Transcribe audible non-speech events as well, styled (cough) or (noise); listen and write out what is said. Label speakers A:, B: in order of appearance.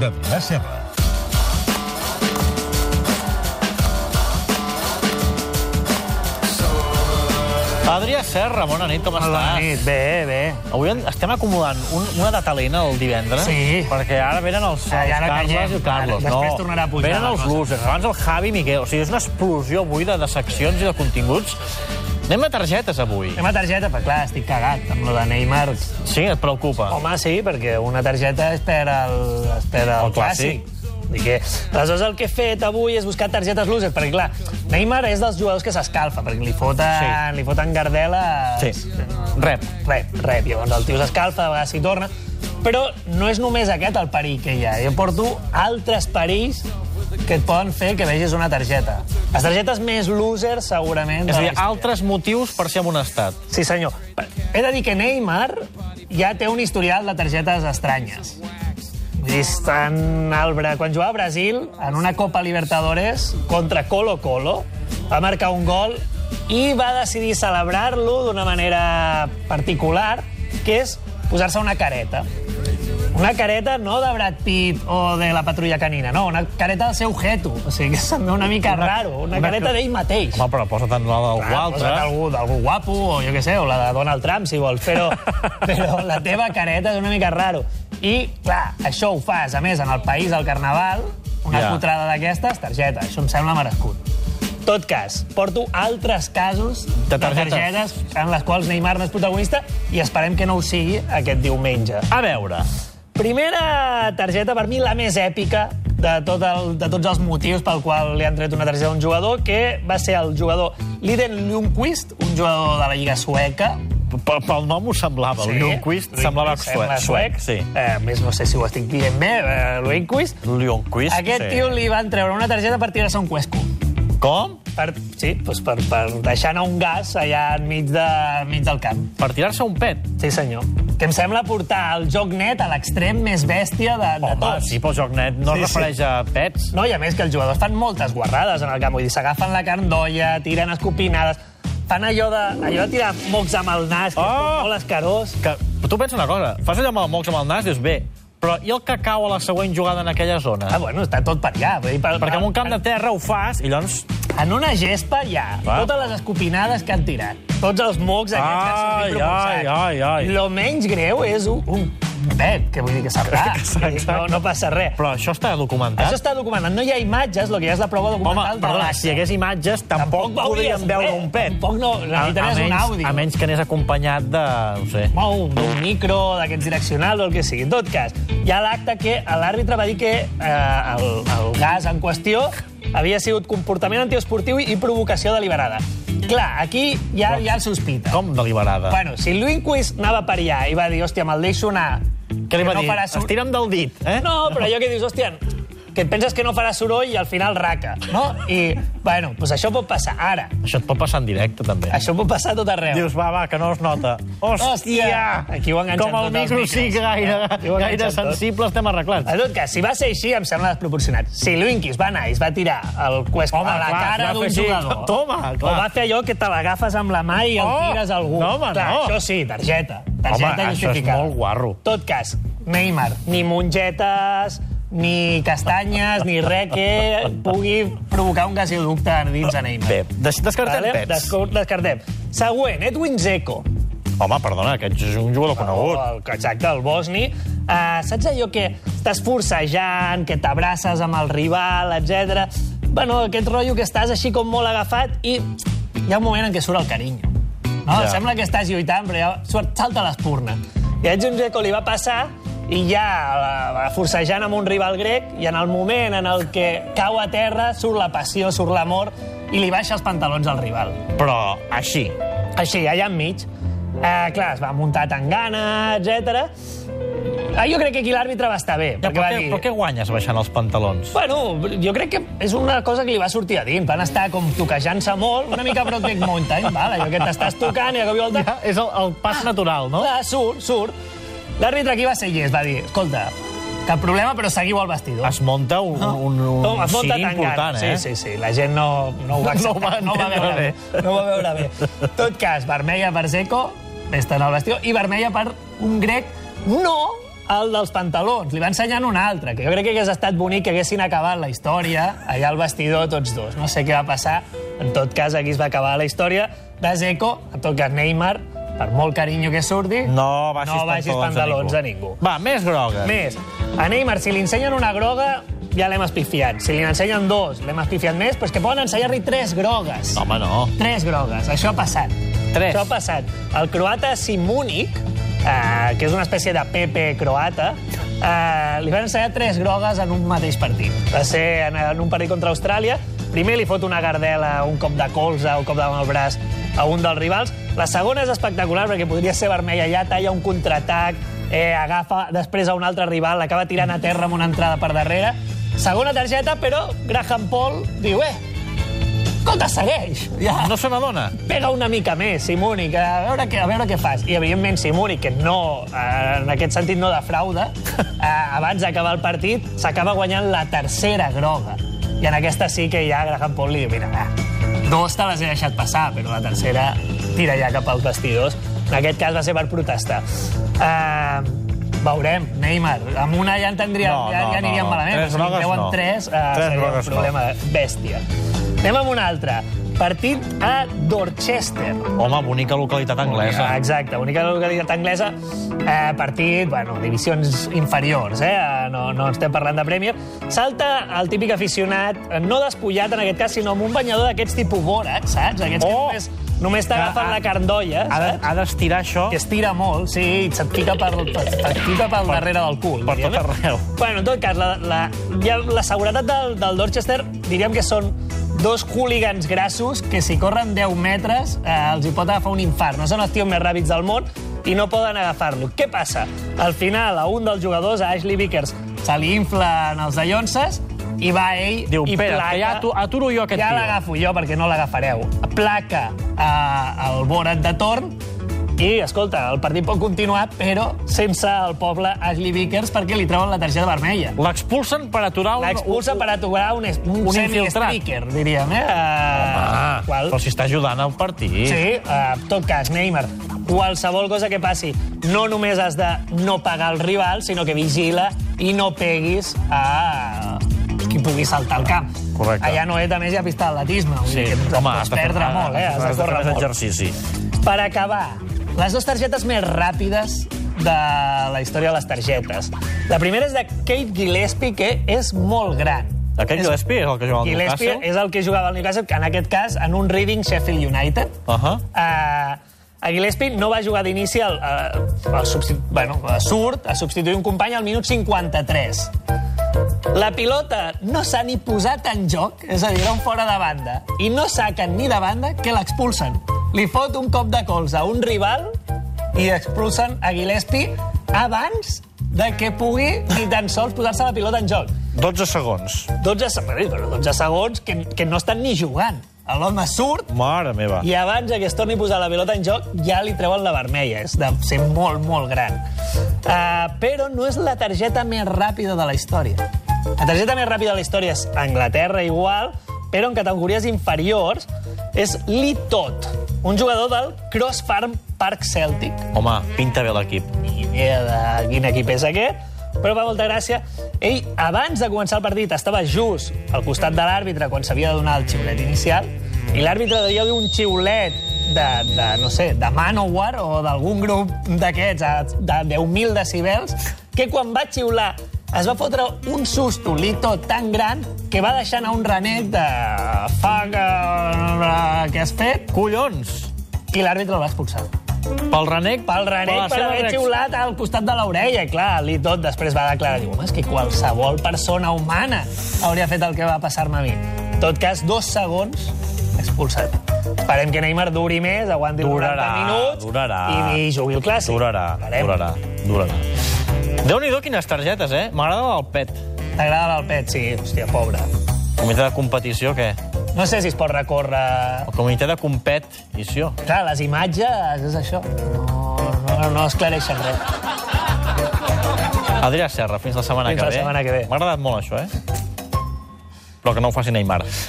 A: de Vila-serra.
B: Adrià Serra, bona nit, com
C: Bona
B: estàs?
C: nit, bé, bé.
B: Avui en- estem acomodant un, una de talent el divendres,
C: Sí.
B: perquè ara venen els, els
C: Ja, ja ara
B: Carles
C: caiem.
B: i el Carlos.
C: Ara, després tornarà a pujar
B: Venen
C: la
B: els
C: cosa.
B: losers, abans el Javi i Miquel. O sigui, és una explosió avui de, de seccions i de continguts. Anem a targetes avui.
C: Fem la targeta, però clar, estic cagat amb lo de Neymar.
B: Sí, et preocupa.
C: Home, sí, perquè una targeta es per al, es per al
B: El clàssic.
C: Vull dir Que, aleshores, el que he fet avui és buscar targetes losers, perquè, clar, Neymar és dels jugadors que s'escalfa, perquè li foten, sí. li foten gardela...
B: Sí. Rep.
C: Rep, rep. Llavors el tio s'escalfa, a vegades s'hi torna. Però no és només aquest el perill que hi ha. Jo porto altres perills que et poden fer que vegis una targeta. Les targetes més losers, segurament... de
B: És a
C: la
B: dir,
C: història.
B: altres motius per ser amonestat.
C: Sí, senyor. He de dir que Neymar ja té un historial de targetes estranyes. Vull dir, està en el... Bra- Quan jugava a Brasil, en una Copa Libertadores contra Colo-Colo, va marcar un gol i va decidir celebrar-lo d'una manera particular, que és posar-se una careta. Una careta no de Brad Pitt o de la patrulla canina, no, una careta del seu geto. O sigui, que sembla una mica una, raro, una,
B: una-
C: una careta d'ell mateix.
B: Home, però posa't en la d'algú
C: Ah,
B: altre.
C: posa't Algú, algú guapo, o jo què sé, o la de Donald Trump, si vols,
B: (laughs)
C: però, però la teva careta és una mica raro. I, clar, això ho fas, a més, en el país, al carnaval, una
B: Ja.
C: yeah. cutrada d'aquestes, targeta. Això em sembla merescut. Tot cas, porto altres casos
B: De targetes.
C: targetes en les quals Neymar no és protagonista i esperem que no ho sigui aquest diumenge.
B: A veure,
C: Primera targeta, per mi, la més èpica de, tot el, de tots els motius pel qual li han tret una targeta a un jugador, que va ser el jugador Liden Ljungqvist, un jugador de la Lliga Sueca.
B: pel, pel nom ho semblava. Sí. Lundqvist semblava suec.
C: sembla suec.
B: Sí.
C: Eh, a més, no sé si ho estic dient bé, eh, Ljungqvist.
B: Lundqvist,
C: Aquest
B: sí.
C: tio li van treure una targeta per tirar-se un cuesco.
B: Com?
C: Per, sí, doncs per, per deixar anar un gas allà enmig, de, enmig del camp.
B: Per tirar-se un pet.
C: Sí, senyor. Que em sembla portar el joc net a l'extrem més bèstia de, de
B: Home,
C: tots.
B: sí, però el joc net no
C: Sí,
B: es
C: sí.
B: refereix a pets.
C: No, i a més que els jugadors fan moltes guarrades en el camp. Vull dir, s'agafen la carn d'olla, tiren escopinades... Fan allò de, allò de tirar mocs amb el nas, que és
B: Oh!
C: com molt escarós.
B: Que, però tu pensa una cosa, fas allò amb el mocs amb el nas, dius, bé, però i el que cau a la següent jugada en aquella zona?
C: Ah, bueno, està tot per allà. Vull dir, per,
B: Perquè en un camp de terra ho fas i llavors...
C: En una gespa hi ha
B: Va.
C: totes les escopinades que han tirat. Tots els mocs aquests que han
B: Ai,
C: sortit propulsats.
B: ai, ai, ai.
C: Lo menys greu és un, un pet, que vull dir que
B: (laughs)
C: se'n va. Vull dir, No, no passa res.
B: Però això està documentat.
C: Això està documentat. No hi ha imatges, el que hi ha és la prova
B: Ah. Home,
C: documental de
B: perdona,
C: l'acte.
B: si hi hagués imatges, tampoc,
C: Tampoc veuries
B: podríem veure
C: res.
B: un pet.
C: Tampoc no, necessitaries
B: a, a
C: un
B: menys,
C: àudio.
B: A menys que anés acompanyat de... no sé.
C: mou d'un micro, d'aquests direccionals o el que sigui. En tot cas, hi ha l'acte que l'àrbitre va dir que eh, el, el gas en qüestió havia sigut comportament antiesportiu i, i provocació deliberada. Clar, aquí ja, ja el sospita.
B: Com deliberada?
C: Bueno, si Lluínquist anava per allà i va dir, hòstia, me'l deixo anar...
B: Què li va
C: que
B: dir?
C: No, farà sor-
B: Estira'm del dit, eh?
C: no, però allò que dius, hòstia, que et penses que no farà soroll i al final raca, no? I, bueno, doncs això pot passar ara.
B: Això et pot passar en directe, també.
C: Això pot passar a tot arreu.
B: Dius, va, va, que no es nota. Hòstia!
C: Hòstia! Aquí ho enganxen
B: Com el
C: tot, els
B: micro
C: micros. Eh?
B: sí que gaire,
C: Aquí ho enganxen
B: gaire
C: tot.
B: sensible estem arreglats.
C: En tot cas, si va ser així, em sembla desproporcionat. Si Luinkis va anar i es va tirar el cuesco
B: Home,
C: a la
B: clar, es
C: cara
B: va fer
C: d'un
B: així.
C: jugador...
B: Toma, clar.
C: O va fer allò que te l'agafes amb la mà i el
B: Oh,
C: tires a algú.
B: no, home,
C: clar,
B: no.
C: Això sí, targeta.
B: Home,
C: Targeta
B: això és
C: justificada.
B: molt guarro.
C: tot cas, Neymar, ni mongetes, ni castanyes, ni res que pugui provocar un gasoducte dins a Neymar.
B: Bé, des descartem
C: Vale?
B: pets.
C: Desco- Descartem. Següent, Edwin Dzeko.
B: Home, perdona, aquest és un jugador conegut.
C: El, exacte, el bosni. Uh, saps allò que estàs forcejant, que t'abraces amb el rival, etc. Bueno, aquest rotllo que estàs així com molt agafat i hi ha un moment en què surt el carinyo. No?
B: Ja.
C: Ja. Sembla que estàs lluitant, però ja surt, salta l'espurna. I a Jun Dzeko li va passar i ja la- la forcejant amb un rival grec i en el moment en el que cau a terra surt la passió, surt l'amor i li baixa els pantalons al rival
B: Però així.
C: així, allà enmig. Eh, clar, es va muntar tangana, etc. Ah, jo crec que aquí l'àrbitre va estar bé,
B: Ja,
C: perquè
B: però,
C: va
B: què,
C: dir...
B: però què guanyes baixant els pantalons?
C: Bueno, jo crec que és una cosa que li va sortir a dins. Van estar com toquejant-se molt, una mica prop Big Mountain, (laughs) val? allò que t'estàs tocant i a cop i volta...
B: Ja, és el, el pas natural, no?
C: Clar, surt, surt. L'àrbitre aquí va ser llest, va dir, escolta, cap problema, però seguiu al vestidor.
B: Es monta un, un, un,
C: No, es
B: un
C: munta
B: ciri
C: tangana.
B: important, eh?
C: Sí, sí, sí. La gent no, no ho va
B: No ho
C: acceptar.
B: va entendre
C: veure
B: bé.
C: No ho va veure bé. En tot cas, vermella per Seco, festa en el vestidor, i vermella per un grec no el dels pantalons, li va ensenyant un altre, que jo crec que hagués estat bonic que haguessin acabat la història allà al vestidor tots dos. No sé què va passar, en tot cas aquí es va acabar la història de Zeco, en tot cas Neymar, per molt carinyo que surti,
A: No baixis
C: no baixis
A: pantalons a
C: pantalons a
A: ningú.
C: ningú.
B: Va, més groga.
C: Més, a Neymar, si li ensenyen una groga, ja l'hem espifiat. Si li n'ensenyen dos, l'hem espifiat més, però és que poden ensenyar-li tres grogues.
B: Home, no.
C: Tres grogues, això ha passat.
B: Tres.
C: Això ha passat. El croata Simunic, eh, que és una espècie de Pepe croata, eh, li van ensenyar tres grogues en un mateix partit. Va ser en, en un partit contra Austràlia. Primer li fot una gardela, un cop de colze, un cop de mal braç a un dels rivals. La segona és espectacular perquè podria ser vermella ja, talla un contraatac, eh, agafa després a un altre rival, l'acaba tirant a terra amb una entrada per darrere. Segona targeta, però Graham Paul diu, eh, compte, segueix. Ja
B: No se n'adona.
C: pega una mica més, Simoni, que a veure què, a veure què fas. I, evidentment, Simoni, que no, eh, en aquest sentit no defrauda, (laughs) eh, abans d'acabar el partit s'acaba guanyant la tercera groga. I en aquesta sí que ja Graham Paul li diu, mira, va, dos te les he deixat passar, però la tercera tira ja cap als vestidors. En aquest cas va ser per protestar. Eh, veurem, Neymar, amb una ja entendria,
A: No,
C: ja,
A: no,
C: ja aniríem
A: no, no.
C: malament.
A: Tres
C: però si
A: grogues
C: treuen
A: no.
C: tres, eh,
A: Tres
C: seria un
A: grogues no.
C: problema eh, bèstia. Anem amb un altre. Partit a Dorchester.
B: Home, bonica localitat anglesa.
C: Ah, Exacte, única localitat anglesa. Eh, partit, bueno, divisions inferiors, eh? eh? No, no estem parlant de Premier. Salta el típic aficionat, eh, no despullat en aquest cas, sinó amb un banyador d'aquests tipus bòrax, saps? Aquests
A: Oh! Ah,
C: que només, només t'agafen
A: Ha-
C: la carndolla,
A: Ha de-
C: saps?
A: ha d'estirar això.
C: que es tira molt, sí, i se't pica per, per, et pica pel darrere del cul.
A: per
C: diríem, eh?
A: tot arreu.
C: Bueno, en tot cas, la, la, ja, la seguretat del, del Dorchester diríem que són dos hooligans grassos que si corren 10 metres eh, els hi pot agafar un infart. No són els tios més ràpids del món i no poden agafar-lo. Què passa? Al final, a un dels jugadors, a Ashley Vickers, se li inflen els dallonses i va ell
A: Diu,
C: i
A: "Espera,
C: placa...
A: que ja atu- aturo jo aquest
C: ja
A: tio."
C: l'agafo jo perquè no l'agafareu. Placa eh, el Borat de torn i, escolta, el partit pot continuar, però sense el poble Ashley Vickers perquè li treuen la targeta vermella.
B: L'expulsen per aturar un...
C: L'expulsa per aturar un, es- un,
B: un
C: un
B: infiltrat.
C: semi-streaker, diríem, eh?
B: Ah,
C: Uh,
B: però si està ajudant al partit.
C: Sí, eh, en tot cas, Neymar, qualsevol cosa que passi, no només has de no pagar el rival, sinó que vigila i no peguis a qui pugui saltar al camp.
A: Correcte.
C: Allà no és, a més, hi ha pista d'atletisme. vull
B: Sí,
C: dir que
B: home,
C: has de perdre
B: fer-
C: molt, eh? Has
A: has
C: de
A: de fer
C: córrer
A: més
C: molt.
B: Exercici.
C: Per acabar, les dues targetes més ràpides de la història de les targetes. La primera és de Kate Gillespie, que és molt gran.
B: Aquest Gillespie és el que juga al
C: Gillespie
B: Newcastle?
C: és el que jugava al Newcastle, que en aquest cas, en un Reading Sheffield United.
B: Ahà.
C: Uh, a Gillespie no va jugar d'inici al, al, al substitu... bueno, a surt a substituir un company al minut 53. La pilota no s'ha ni posat en joc, és a dir, era un fora de banda, i no saquen ni de banda que l'expulsen. Li fot un cop de colze a un rival i expulsen a Gillespie abans de que pugui ni tan sols posar-se la pilota en joc.
A: 12 segons.
C: 12, se- però 12 segons que, que no estan ni jugant. L'home surt
A: Mare meva.
C: i abans de que es torni a posar la pilota en joc, ja li treuen la vermella. És de ser molt, molt gran. Uh, però no és la targeta més ràpida de la història. La targeta més ràpida de la història és a Anglaterra, igual, però en categories inferiors és Lee Todd, un jugador del Cross Farm Park Celtic.
B: Home, pinta bé l'equip.
C: Ni idea de quin equip és aquest, però fa molta gràcia. Ell, abans de començar el partit, estava just al costat de l'àrbitre quan s'havia de donar el xiulet inicial, i l'àrbitre devia dir un xiulet de, de, no sé, de Manowar o d'algun grup d'aquests, a- de 10.000 decibels, que quan va xiular es va fotre un susto lito tan gran que va deixar anar un ranet de... Fuck, eh, que has fet?
B: Collons!
C: I l'àrbitre el va expulsar
B: Pel renec...
C: pel
B: per
C: Renec
B: la
C: per
B: seva
C: haver
B: reacció.
C: xiulat al costat de l'orella. I clar, li tot després va declarar, diu, home, és que qualsevol persona humana hauria fet el que va passar-me a mi. En tot cas, dos segons expulsat. Esperem que Neymar duri més, aguanti els
B: Durarà,
C: 90 minuts
B: durarà.
C: i, i jugui el clàssic.
B: Durarà,
C: Esperem.
B: durarà, durarà. Déu-n'hi-do quines targetes, eh? M'agrada la del pet.
C: T'agrada l'Alpet? Sí, hòstia, pobre.
B: Comitè de competició, què?
C: No sé si es pot recórrer...
B: El comitè de competició.
C: Clar, les imatges és això. No, no, no esclareixen res.
B: Adrià Serra, fins la setmana
C: Fins
B: que
C: la
B: ve.
C: setmana que ve.
B: M'ha agradat molt això, eh? Però que no ho faci Neymar.